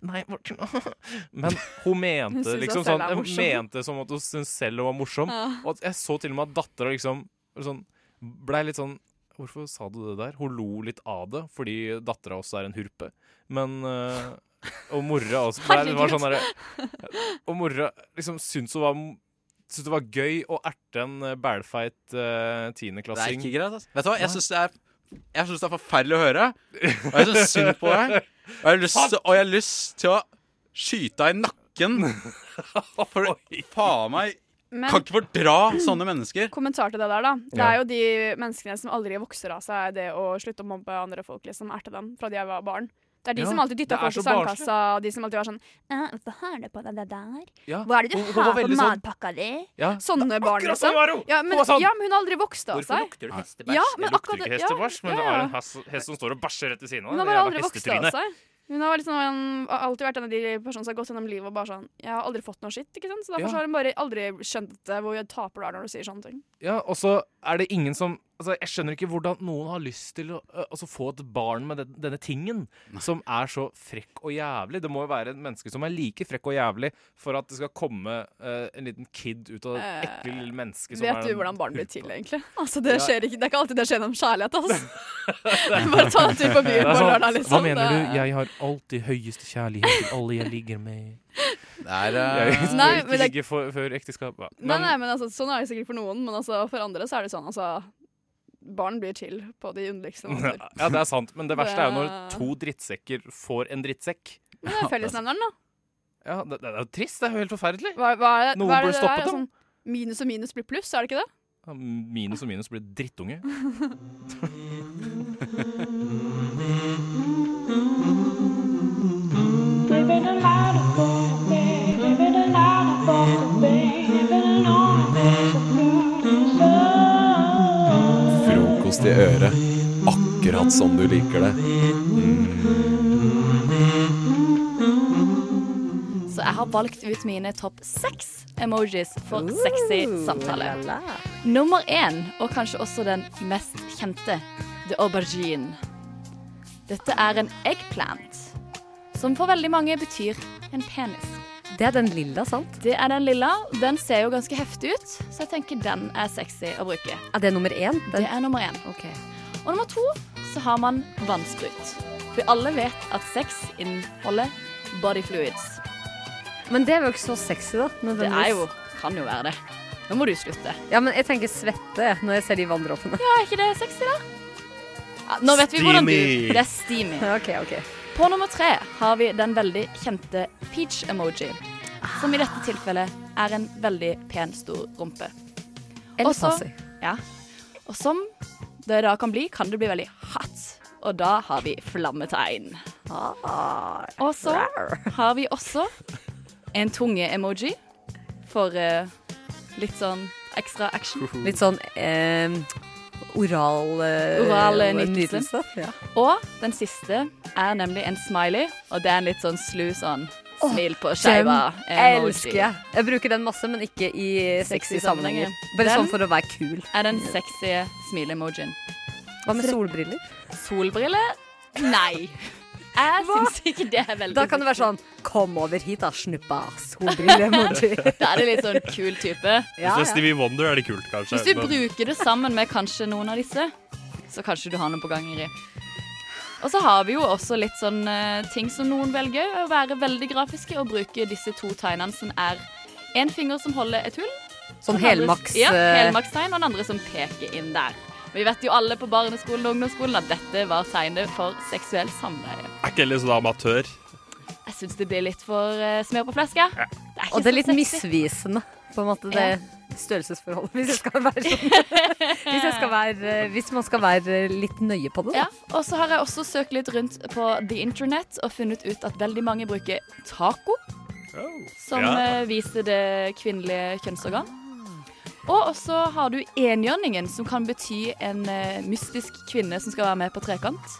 Speaker 8: Nei, Morten Men hun
Speaker 9: Hun
Speaker 8: mente
Speaker 9: synes
Speaker 8: liksom
Speaker 9: at selv
Speaker 8: sånn
Speaker 9: er
Speaker 8: Hun
Speaker 9: morsom.
Speaker 8: mente som at hun syntes selv hun var morsom.
Speaker 9: ja.
Speaker 8: Og at jeg så til og med at dattera liksom sånn, blei litt sånn Hvorfor sa du det der? Hun lo litt av det, fordi dattera også er en hurpe. Men øh, Og mora også. Blei, det var sånn derre Og mora liksom syntes hun var Syntes det var gøy å erte en øh, bælfeit øh,
Speaker 7: Det er
Speaker 8: tiendeklassing.
Speaker 7: ikke greit, altså. ass. Vet du hva, jeg syns det er Jeg synes det er forferdelig å høre. Og jeg syns synd på deg. Og jeg har lyst, til- og jeg har lyst til å skyte deg i nakken. For faen meg Kan
Speaker 9: men
Speaker 7: ikke fordra sånne mennesker.
Speaker 9: kommentar til det der, da. Det
Speaker 8: Ja.
Speaker 9: er jo de menneskene som aldri vokser av seg det å slutte å mobbe andre folk, liksom erte dem fra de jeg var barn. Det er de
Speaker 8: Ja,
Speaker 9: som alltid dytta
Speaker 8: det er
Speaker 9: folk i
Speaker 8: så barnslig.
Speaker 9: sandkassa, og de som alltid var sånn «Eh, Hvorfor har du på deg det der?
Speaker 8: Ja,
Speaker 9: Hva er det du
Speaker 8: hun- hun var
Speaker 9: har på
Speaker 8: veldig sånn-
Speaker 9: matpakka di?
Speaker 8: Ja.
Speaker 9: Sånne barn,
Speaker 8: Akkurat sånn
Speaker 9: liksom.
Speaker 8: var hun!
Speaker 9: Ja, men,
Speaker 8: Hun var sånn,
Speaker 9: ja, men hun har aldri vokst av seg.
Speaker 8: lukter det hestebæsj?
Speaker 9: Ja, men akkurat det- ja, ja, ja.
Speaker 8: hest, hest som står og bæsjer rett ved siden
Speaker 9: Hun har bare aldri vokst av seg. Hun har, liksom, en- har alltid vært en av de personene som har gått gjennom livet og bare sånn Jeg har aldri fått noe skitt, ikke sant? Så derfor
Speaker 8: Ja.
Speaker 9: så har hun bare aldri skjønt eh, hvor taper du er når du sier sånne ting.
Speaker 8: Ja, og så er det ingen som Altså, Jeg skjønner ikke hvordan noen har lyst til å ø, altså, få et barn med den, denne tingen, som er så frekk og jævlig. Det må jo være et menneske som er like frekk og jævlig for at det skal komme ø, en liten kid ut av et
Speaker 9: Eh,
Speaker 8: ekle lille menneske som
Speaker 9: Vet
Speaker 8: er
Speaker 9: du
Speaker 8: en
Speaker 9: hvordan barn blir til,
Speaker 8: hurpe.
Speaker 9: egentlig? Altså, det,
Speaker 8: Ja.
Speaker 9: skjer ikke, det er ikke alltid det skjer gjennom kjærlighet. Altså. Bare ta en tur på
Speaker 8: Det
Speaker 9: byen
Speaker 8: er
Speaker 9: på
Speaker 8: sånn,
Speaker 9: lørdag, liksom.
Speaker 8: Hva mener
Speaker 9: Det-
Speaker 8: du? Jeg har alltid høyeste kjærlighet til alle jeg ligger med.
Speaker 7: Det er
Speaker 8: Jeg
Speaker 7: eh,
Speaker 8: skal
Speaker 9: Nei, men
Speaker 8: ikke
Speaker 9: det-
Speaker 8: ligge for, før ekteskap. Ja.
Speaker 9: Nei, nei, men altså, Sånn er det sikkert for noen, men altså, for andre så er det sånn, altså Barn blir til på de underligste måter.
Speaker 8: Ja, det er sant, men det verste er jo når
Speaker 9: Det-
Speaker 8: to drittsekker får en drittsekk.
Speaker 9: Men det er fellesnevneren, da.
Speaker 8: Ja, Det, det er jo trist. Det er jo helt forferdelig.
Speaker 9: Hva, hva er,
Speaker 8: Noen
Speaker 9: hva er det
Speaker 8: burde
Speaker 9: det
Speaker 8: stoppet
Speaker 9: er?
Speaker 8: dem.
Speaker 9: Sånn, minus og minus blir pluss, er det ikke det?
Speaker 8: Ja, Minus og minus blir drittunge.
Speaker 2: Frokost i øret, akkurat som du liker det.
Speaker 10: Så jeg har valgt ut mine topp seks emojis for sexy samtale. Nummer én, og kanskje også den mest kjente, the aubergine. Dette er en eggplant, som for veldig mange betyr en penis.
Speaker 11: Det er den lilla, sant?
Speaker 10: Det er den lilla. Den ser jo ganske heftig ut, så jeg tenker den er sexy å bruke.
Speaker 11: Er det nummer én? Den-
Speaker 10: Det er nummer én.
Speaker 11: Ok.
Speaker 10: Og nummer to så har man vannsprut. For alle vet at sex inneholder body fluids.
Speaker 11: Men det er jo ikke så sexy, da.
Speaker 10: Det
Speaker 11: nødvendigvis.
Speaker 10: er jo Kan jo være det. Nå må du slutte.
Speaker 11: Ja, men jeg tenker svette jeg, når jeg ser de vanndråpene.
Speaker 10: Ja, er ikke det sexy, da? Ja, nå vet vi hvordan du
Speaker 7: Steamy.
Speaker 10: Det er steamy.
Speaker 11: OK, OK.
Speaker 10: På nummer tre har vi den veldig kjente peach-emoji. Som i dette tilfellet er en veldig pen, stor rumpe.
Speaker 11: Eller
Speaker 10: Også-
Speaker 11: passiv.
Speaker 10: Ja. Og som det da kan bli, kan det bli veldig hot. Og da har vi flammetegn.
Speaker 11: Ah.
Speaker 10: Og så har vi også en tunge-emoji for eh, litt sånn ekstra action.
Speaker 11: Litt sånn eh, oral eh,
Speaker 10: Oral eh, nytelse.
Speaker 11: Ja.
Speaker 10: Og den siste er nemlig en smiley, og det er en litt sånn slu sånn smil på skeiva
Speaker 11: Den
Speaker 10: emoji.
Speaker 11: elsker jeg. Jeg bruker den masse, men ikke i sexy sammenhenger. Bare sånn for å være kul.
Speaker 10: Er den sexy smile-emojien.
Speaker 11: Hva med solbriller?
Speaker 10: Solbriller? Nei. Jeg syns ikke det er veldig
Speaker 11: Da kan det være sånn Kom over hit, da, snuppa. Solbrille-emoji.
Speaker 10: Da er det litt sånn kul type.
Speaker 3: Hvis det er Stevie Wonder, er det kult, kanskje.
Speaker 10: Hvis du
Speaker 3: men-
Speaker 10: bruker det sammen med kanskje noen av disse, så kanskje du har noe på gang, Ingrid. Og så har vi jo også litt sånn eh, ting som noen velger å være veldig grafiske og bruke disse to tegnene som er en finger som holder et hull.
Speaker 11: Sånn
Speaker 10: og den andre-
Speaker 11: helmaks,
Speaker 10: Ja,
Speaker 11: eh,
Speaker 10: helmakstegn, og den andre som peker inn der. Vi vet jo alle på barneskolen og ungdomsskolen at dette var tegnet for seksuell samleie.
Speaker 3: Er ikke Ellie sånn amatør?
Speaker 10: Jeg syns det blir litt for eh, smør på fleska. ikke
Speaker 11: Og det er
Speaker 10: så
Speaker 11: litt
Speaker 10: sexy.
Speaker 11: misvisende, på en måte, det størrelsesforholdet, hvis jeg skal være sånn. Hvis, jeg skal være, eh, hvis man skal være eh, litt nøye på det, da.
Speaker 10: Ja, og så har jeg også søkt litt rundt på the internet og funnet ut at veldig mange bruker taco.
Speaker 8: Oh.
Speaker 10: Som
Speaker 11: Ja.
Speaker 10: eh, viser det kvinnelige kjønnsorgan. Og også har du enhjørningen, som kan bety en eh, mystisk kvinne som skal være med på trekant.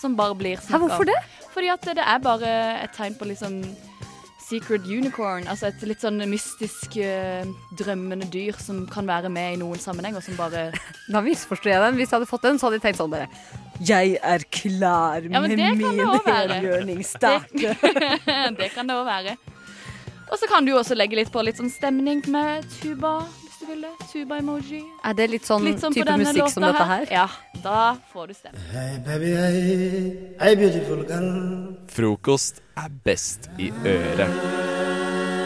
Speaker 10: Som bare blir snakket om.
Speaker 11: hvorfor det?
Speaker 10: Fordi at det er bare et tegn på liksom secret unicorn. Altså et litt sånn mystisk eh, drømmende dyr som kan være med i noen sammenheng, og som bare
Speaker 11: Da misforstår jeg den. Hvis jeg hadde fått den, så hadde jeg tenkt sånn bare Jeg er klar
Speaker 10: Ja, men
Speaker 11: med
Speaker 10: det kan det
Speaker 11: min
Speaker 10: også være.
Speaker 11: helgjørningsstake.
Speaker 10: det kan det òg være. Og så kan du jo også legge litt på litt sånn stemning med tuba, hvis du vil det. Tuba-emoji.
Speaker 11: Er det litt sånn
Speaker 10: Litt sånn på
Speaker 11: type
Speaker 10: denne
Speaker 11: musikk som
Speaker 10: låta
Speaker 11: dette
Speaker 10: her.
Speaker 11: her?
Speaker 10: Ja, da får du stemme.
Speaker 12: Hey baby, hey, hey beautiful girl.
Speaker 2: Frokost er best i øret.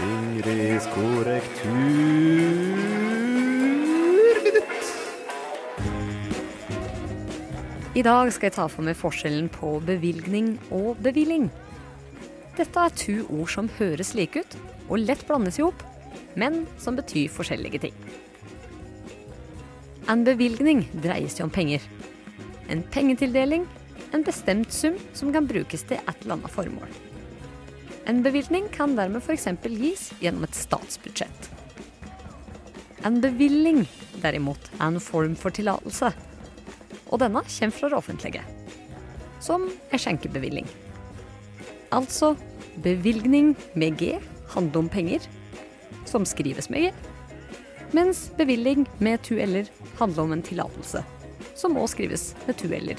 Speaker 13: Ingrids korrekturminutt.
Speaker 11: I dag skal jeg ta for meg forskjellen på bevilgning og bevilling. Dette er to ord som høres like ut og lett blandes i hop, men som betyr forskjellige ting. En bevilgning dreier seg om penger. En pengetildeling, en bestemt sum som kan brukes til et eller annet formål. En bevilgning kan dermed f.eks. gis gjennom et statsbudsjett. En bevilling, derimot, er en form for tillatelse og denne kommer fra det offentlige, som er skjenkebevilling. Altså bevilgning med G handler om penger, som skrives med G, mens bevilling med tu eller handler om en tillatelse, som må skrives med tu eller.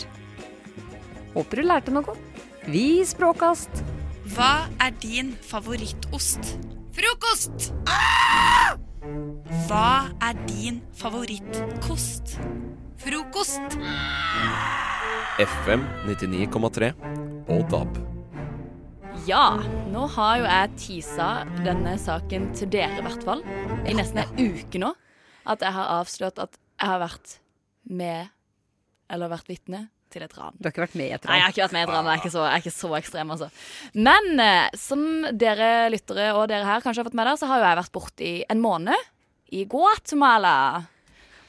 Speaker 11: Håper du lærte noe. Vi språkkast!
Speaker 10: Hva er din favorittost? Frokost! Hva er din favorittkost? Frokost!
Speaker 2: FM 99,3 og DAB.
Speaker 10: Ja, nå har jo jeg teasa denne saken til dere, i hvert fall. I nesten ei uke nå. At jeg har avslørt at jeg har vært med, eller vært vitne, til et ran.
Speaker 11: Du har ikke vært med i et
Speaker 10: Nei, jeg har ikke vært med i et ran. Jeg er ikke så, jeg er ikke så ekstrem, altså. Men eh, som dere lyttere og dere her kanskje har fått med dere, så har jo jeg vært borte i en måned. I Guatemala.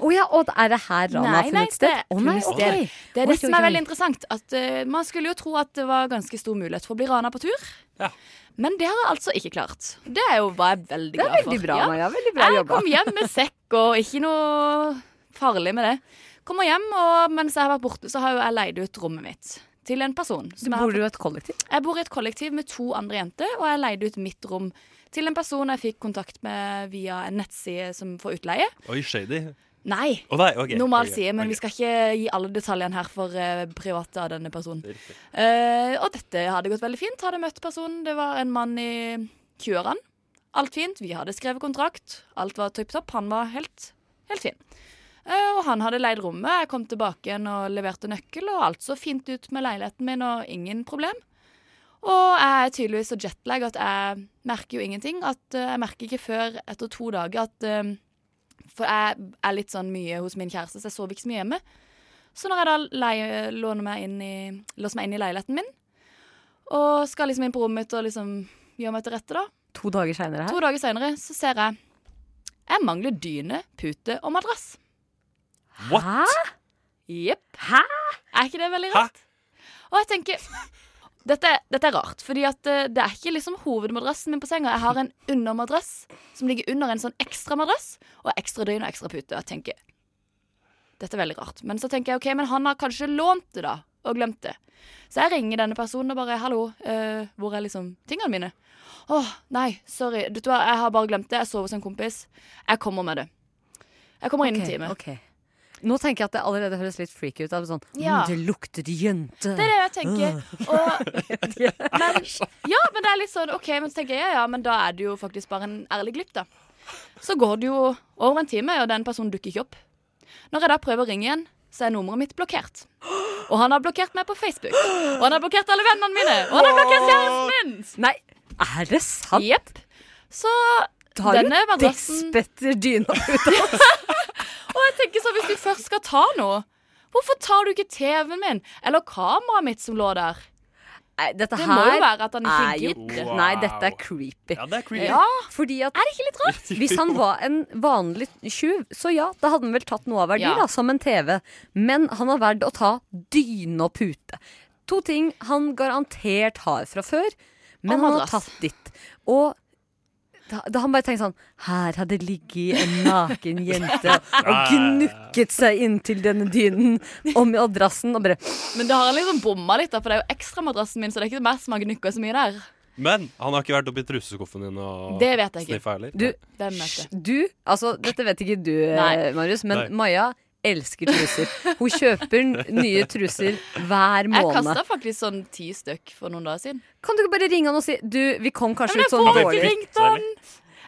Speaker 11: Å ja, og er det her Rana har funnet sted? Å nei,
Speaker 10: funnet
Speaker 11: ok.
Speaker 10: sted. Det er
Speaker 11: Oi,
Speaker 10: det som
Speaker 11: oi,
Speaker 10: er
Speaker 11: oi.
Speaker 10: veldig interessant. At eh, Man skulle jo tro at det var ganske stor mulighet for å bli rana på tur. Men det har jeg altså ikke klart. Det er jo hva jeg er veldig
Speaker 11: Det er
Speaker 10: glad for.
Speaker 11: veldig bra,
Speaker 10: Ja.
Speaker 11: Maja. Veldig bra
Speaker 10: jeg
Speaker 11: jobba.
Speaker 10: kom hjem med sekk og ikke noe farlig med det. Kommer hjem, og mens jeg har vært borte, så har jo jeg leid ut rommet mitt til en person.
Speaker 11: Du
Speaker 10: jeg har
Speaker 11: bor
Speaker 10: fått-
Speaker 11: jo i et kollektiv.
Speaker 10: jeg bor i et kollektiv med to andre jenter, og jeg leide ut mitt rom til en person jeg fikk kontakt med via en nettside som får utleie.
Speaker 3: Oi, shady.
Speaker 10: Nei.
Speaker 3: Å nei, ok,
Speaker 10: Normal
Speaker 3: ok,
Speaker 10: side, men vi skal ikke gi alle detaljene her for eh, private av denne personen. Eh, og dette hadde gått veldig fint. Hadde møtt personen. Det var en mann i 20-årene. Alt fint. Vi hadde skrevet kontrakt. Alt var tipp topp. Han var helt, helt fin. Eh, og han hadde leid rommet. Jeg kom tilbake igjen og leverte nøkkel, og alt så fint ut med leiligheten min og ingen problem. Og jeg er tydeligvis så jetlag at jeg merker jo ingenting. At eh, jeg merker ikke før etter to dager at eh, For jeg er litt sånn mye hos min kjæreste, så jeg sover ikke så mye hjemme. Så når jeg da leie, låner meg inn i, låser meg inn i leiligheten min, og skal liksom inn på rommet mitt og liksom gjør meg til rette, da.
Speaker 11: To dager seinere
Speaker 10: To
Speaker 11: her.
Speaker 10: dager seinere så ser jeg Jeg mangler dyne, pute og madrass.
Speaker 11: What?
Speaker 10: Jepp. Hæ? Er ikke det veldig rart? Og jeg tenker dette, dette er rart, fordi at eh, det er ikke liksom hovedmadrassen min på senga. Jeg har en undermadrass som ligger under en sånn ekstra madrass, og ekstra døgn og ekstra pute. Og jeg tenker dette er veldig rart. Men så tenker jeg ok, men han har kanskje lånt det, da. Og glemt det. Så jeg ringer denne personen og bare 'hallo, eh, hvor er liksom tingene mine?' 'Å, nei, sorry, vet du hva, jeg har bare glemt det. Jeg sover hos en kompis. Jeg kommer med det.' Jeg kommer innen
Speaker 11: Ok,
Speaker 10: time.
Speaker 11: ok. Nå tenker jeg at det allerede høres litt freaky ut. at det er Sånn,
Speaker 10: Ja.
Speaker 11: mm, det lukter jente.
Speaker 10: Det er det jeg tenker. Og, men, ja, men det er litt sånn OK, men så tenker jeg ja, ja, men da er det jo faktisk bare en ærlig glipp, da. Så går det jo over en time, og den personen dukker ikke opp. Når jeg da prøver å ringe igjen, så er nummeret mitt blokkert. Og han har blokkert meg på Facebook. Og han har blokkert alle vennene mine. Og han har blokkert kjæresten min!
Speaker 11: Nei, er det sant?
Speaker 10: Jepp. Så
Speaker 11: Da har
Speaker 10: denne
Speaker 11: du
Speaker 10: madrassen
Speaker 11: despetter dyna ut av oss.
Speaker 10: Og jeg tenker så, hvis du først skal ta noe, hvorfor tar du ikke TV-en min? Eller kameraet mitt som lå der?
Speaker 11: Dette
Speaker 10: det må jo
Speaker 11: her
Speaker 10: være at han
Speaker 11: er
Speaker 10: ikke
Speaker 11: jo-
Speaker 10: gidder.
Speaker 11: Nei, dette er creepy.
Speaker 3: Ja, det er
Speaker 10: creepy. Ja.
Speaker 11: Fordi at
Speaker 10: Er det ikke litt rart?
Speaker 11: Hvis han var en vanlig tjuv, så ja, da hadde han vel tatt noe av verdi,
Speaker 10: Ja.
Speaker 11: da, som en TV. Men han har valgt å ta dyne og pute. To ting han garantert har fra før, men
Speaker 10: Og
Speaker 11: han har
Speaker 10: madrass.
Speaker 11: tatt ditt. Og da, da han bare tenkte sånn Her hadde ligget en naken jente og
Speaker 10: Nei.
Speaker 11: gnukket seg inntil denne dynen og madrassen og bare
Speaker 10: Men det har han liksom bomma litt, da, for det er jo ekstramadrassen min, så det er ikke meg som har gnukka så mye der.
Speaker 14: Men han har ikke vært oppi trusseskuffen din og
Speaker 10: Det vet jeg ikke.
Speaker 14: sniffa heller?
Speaker 11: Du,
Speaker 10: Hvem vet det?
Speaker 11: Du, altså dette vet ikke du,
Speaker 10: Nei.
Speaker 11: eh, Marius, men
Speaker 14: Nei.
Speaker 11: Maja elsker truser. Hun kjøper n- nye truser hver
Speaker 10: Jeg
Speaker 11: måned.
Speaker 10: kasta faktisk sånn ti stykk for noen dager siden.
Speaker 11: Kan du ikke bare ringe han og si Du, vi kom kanskje
Speaker 10: Men
Speaker 11: ut
Speaker 10: jeg
Speaker 11: sånn
Speaker 10: får ikke
Speaker 11: dårlig.
Speaker 10: ringt han!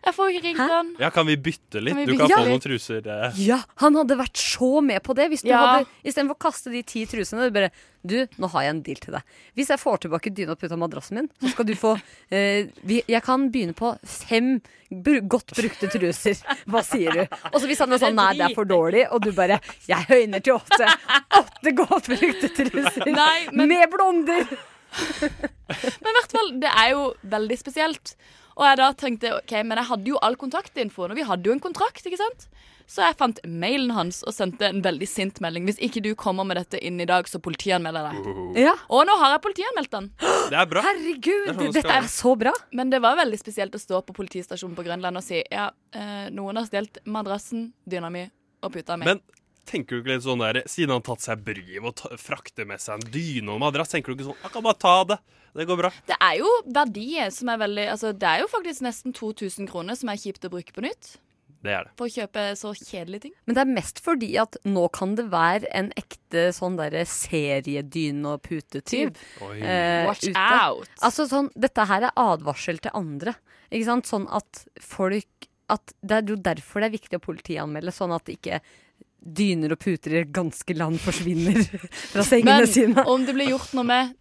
Speaker 10: Jeg får ikke ringt han.
Speaker 14: Ja, kan vi bytte litt?
Speaker 10: Kan vi
Speaker 14: du kan
Speaker 10: bytte
Speaker 14: få
Speaker 10: litt?
Speaker 14: noen truser. eh.
Speaker 11: Ja, han hadde vært så med på det. Hvis du
Speaker 10: Ja.
Speaker 11: hadde, Istedenfor å kaste de ti trusene. Du bare Du, nå har jeg en deal til deg. Hvis jeg får tilbake dyna og puta madrassen min, så skal du få eh, vi, Jeg kan begynne på fem bru, godt brukte truser. Hva sier du? Og så hvis han er sånn Nei, det er for dårlig, og du bare Jeg høyner til åtte. Åtte godt brukte truser.
Speaker 10: Nei, men-
Speaker 11: Med blonder.
Speaker 10: Men i hvert fall, det er jo veldig spesielt. Og jeg da tenkte OK, men jeg hadde jo all kontaktinfoen, og vi hadde jo en kontrakt, ikke sant? Så jeg fant mailen hans og sendte en veldig sint melding. Hvis ikke du kommer med dette inn i dag, så politianmelder jeg deg. Og nå har jeg politianmeldt han.
Speaker 14: Det er bra.
Speaker 11: Herregud,
Speaker 14: Det er sånn det dette skal er være.
Speaker 11: så bra.
Speaker 10: Men det var veldig spesielt å stå på politistasjonen på Grønland og si ja, eh, noen har stjålet madrassen, dyna mi og puta mi.
Speaker 14: Men tenker du ikke litt sånn der Siden han har tatt seg bryet med å ta- frakte med seg en dyne og madrass, tenker du ikke sånn Jeg kan bare ta det. Det går bra.
Speaker 10: det er jo verdier som er veldig Altså, det er jo faktisk nesten 2000 kroner som er kjipt å bruke på nytt.
Speaker 14: Det er det.
Speaker 10: For å kjøpe så kjedelige ting.
Speaker 11: Men det er mest fordi at nå kan det være en ekte sånn derre seriedyne- og putetyv.
Speaker 10: Oi.
Speaker 11: eh,
Speaker 10: Watch out.
Speaker 11: Altså sånn, dette her er advarsel til andre. Ikke sant? Sånn at folk at Det er jo derfor det er viktig å politianmelde, sånn at ikke dyner og puter i det ganske land forsvinner fra sengene
Speaker 10: Men
Speaker 11: sine.
Speaker 10: om det blir gjort noe med,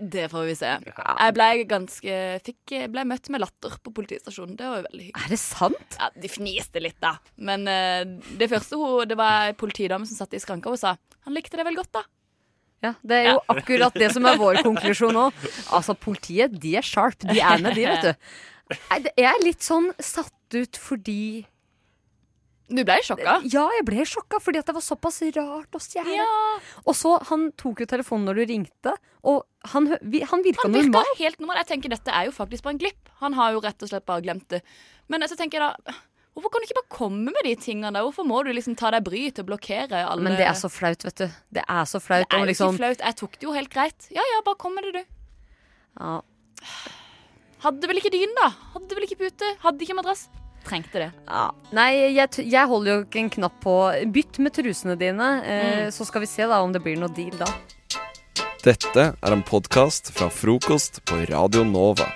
Speaker 10: det får vi se. Jeg ble ganske fikk, ble møtt med latter på politistasjonen. Det var jo veldig hyggelig.
Speaker 11: Er det sant?
Speaker 10: Ja, de fniste litt, da. Men eh, det første hun, det var ei politidame som satt i skranka og sa han likte det vel godt, da.
Speaker 11: Ja, det er jo
Speaker 10: Ja.
Speaker 11: akkurat det som er vår konklusjon nå. Altså, politiet, de er sharp. De er med, de, vet du. Nei, det- Jeg er litt sånn satt ut fordi
Speaker 10: Du ble sjokka?
Speaker 11: Ja, jeg ble sjokka, fordi at det var såpass rart å stjele. Og så, han tok jo telefonen når du ringte, og han, hø- vi- han virka
Speaker 10: Han virka
Speaker 11: normal.
Speaker 10: helt normal. Jeg tenker dette er jo faktisk bare en glipp. Han har jo rett og slett bare glemt det. Men eh, så tenker jeg da Hvorfor kan du ikke bare komme med de tingene? da? Hvorfor må du liksom ta deg bryet til å blokkere alle
Speaker 11: Men det er så flaut, vet du. Det er så flaut.
Speaker 10: Det er
Speaker 11: og
Speaker 10: jo
Speaker 11: liksom,
Speaker 10: ikke flaut. Jeg tok det jo helt greit. Ja ja, bare kom med det, du.
Speaker 11: Ja.
Speaker 10: Hadde vel ikke dyn, da. Hadde vel ikke pute. Hadde ikke madrass. Trengte det.
Speaker 11: Ja. Nei, jeg, t- jeg holder jo ikke en knapp på Bytt med trusene dine, eh,
Speaker 10: Mm.
Speaker 11: så skal vi se da om det blir noe deal da.
Speaker 2: Dette er en podkast fra frokost på Radio Nova.